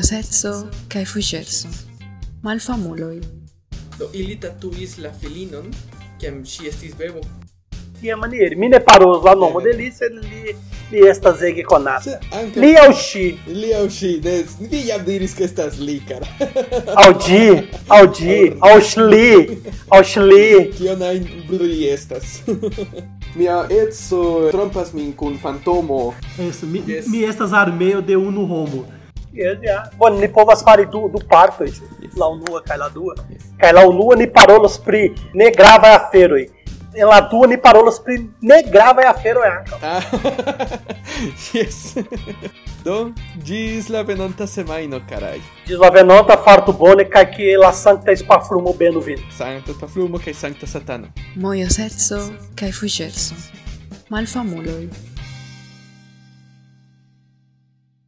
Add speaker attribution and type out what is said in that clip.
Speaker 1: mojoseco kaj fuĝeco. Malfamuloj.
Speaker 2: Do ili tatuis la filinon, kiam ŝi estis bebo.
Speaker 3: Tia maniere, mi ne paros la nomo de li, sed li, li estas ege konata.
Speaker 4: Se anche
Speaker 3: Li aŭ ŝi,
Speaker 4: li aŭ ŝi, ne, vi jam diris ke estas li, kara.
Speaker 3: aŭ ĝi, aŭ ĝi, aŭ ŝli, aŭ ŝli.
Speaker 4: Kion ajn li estas. Mia etso trompas min kun fantomo.
Speaker 5: Isso, mi,
Speaker 2: Yes.
Speaker 5: mi estas armeo de unu homo.
Speaker 3: Jes, ja. Bone, ni povas fari du, du partoj, la unua kaj la dua. Kaj la unua ni parolos pri ne gravaj aferoj. En la dua ni parolos pri ne gravaj aferoj ankaŭ.
Speaker 4: Ah, yes. Do, gis la venonta semajno, karaj.
Speaker 3: Diz la venota fartu bone kaj ke la sankta spafrumo benu vin.
Speaker 4: Sankta paflumo kaj sankta satano.
Speaker 1: Mojoseco kaj fuĝeco. Malfamuloj.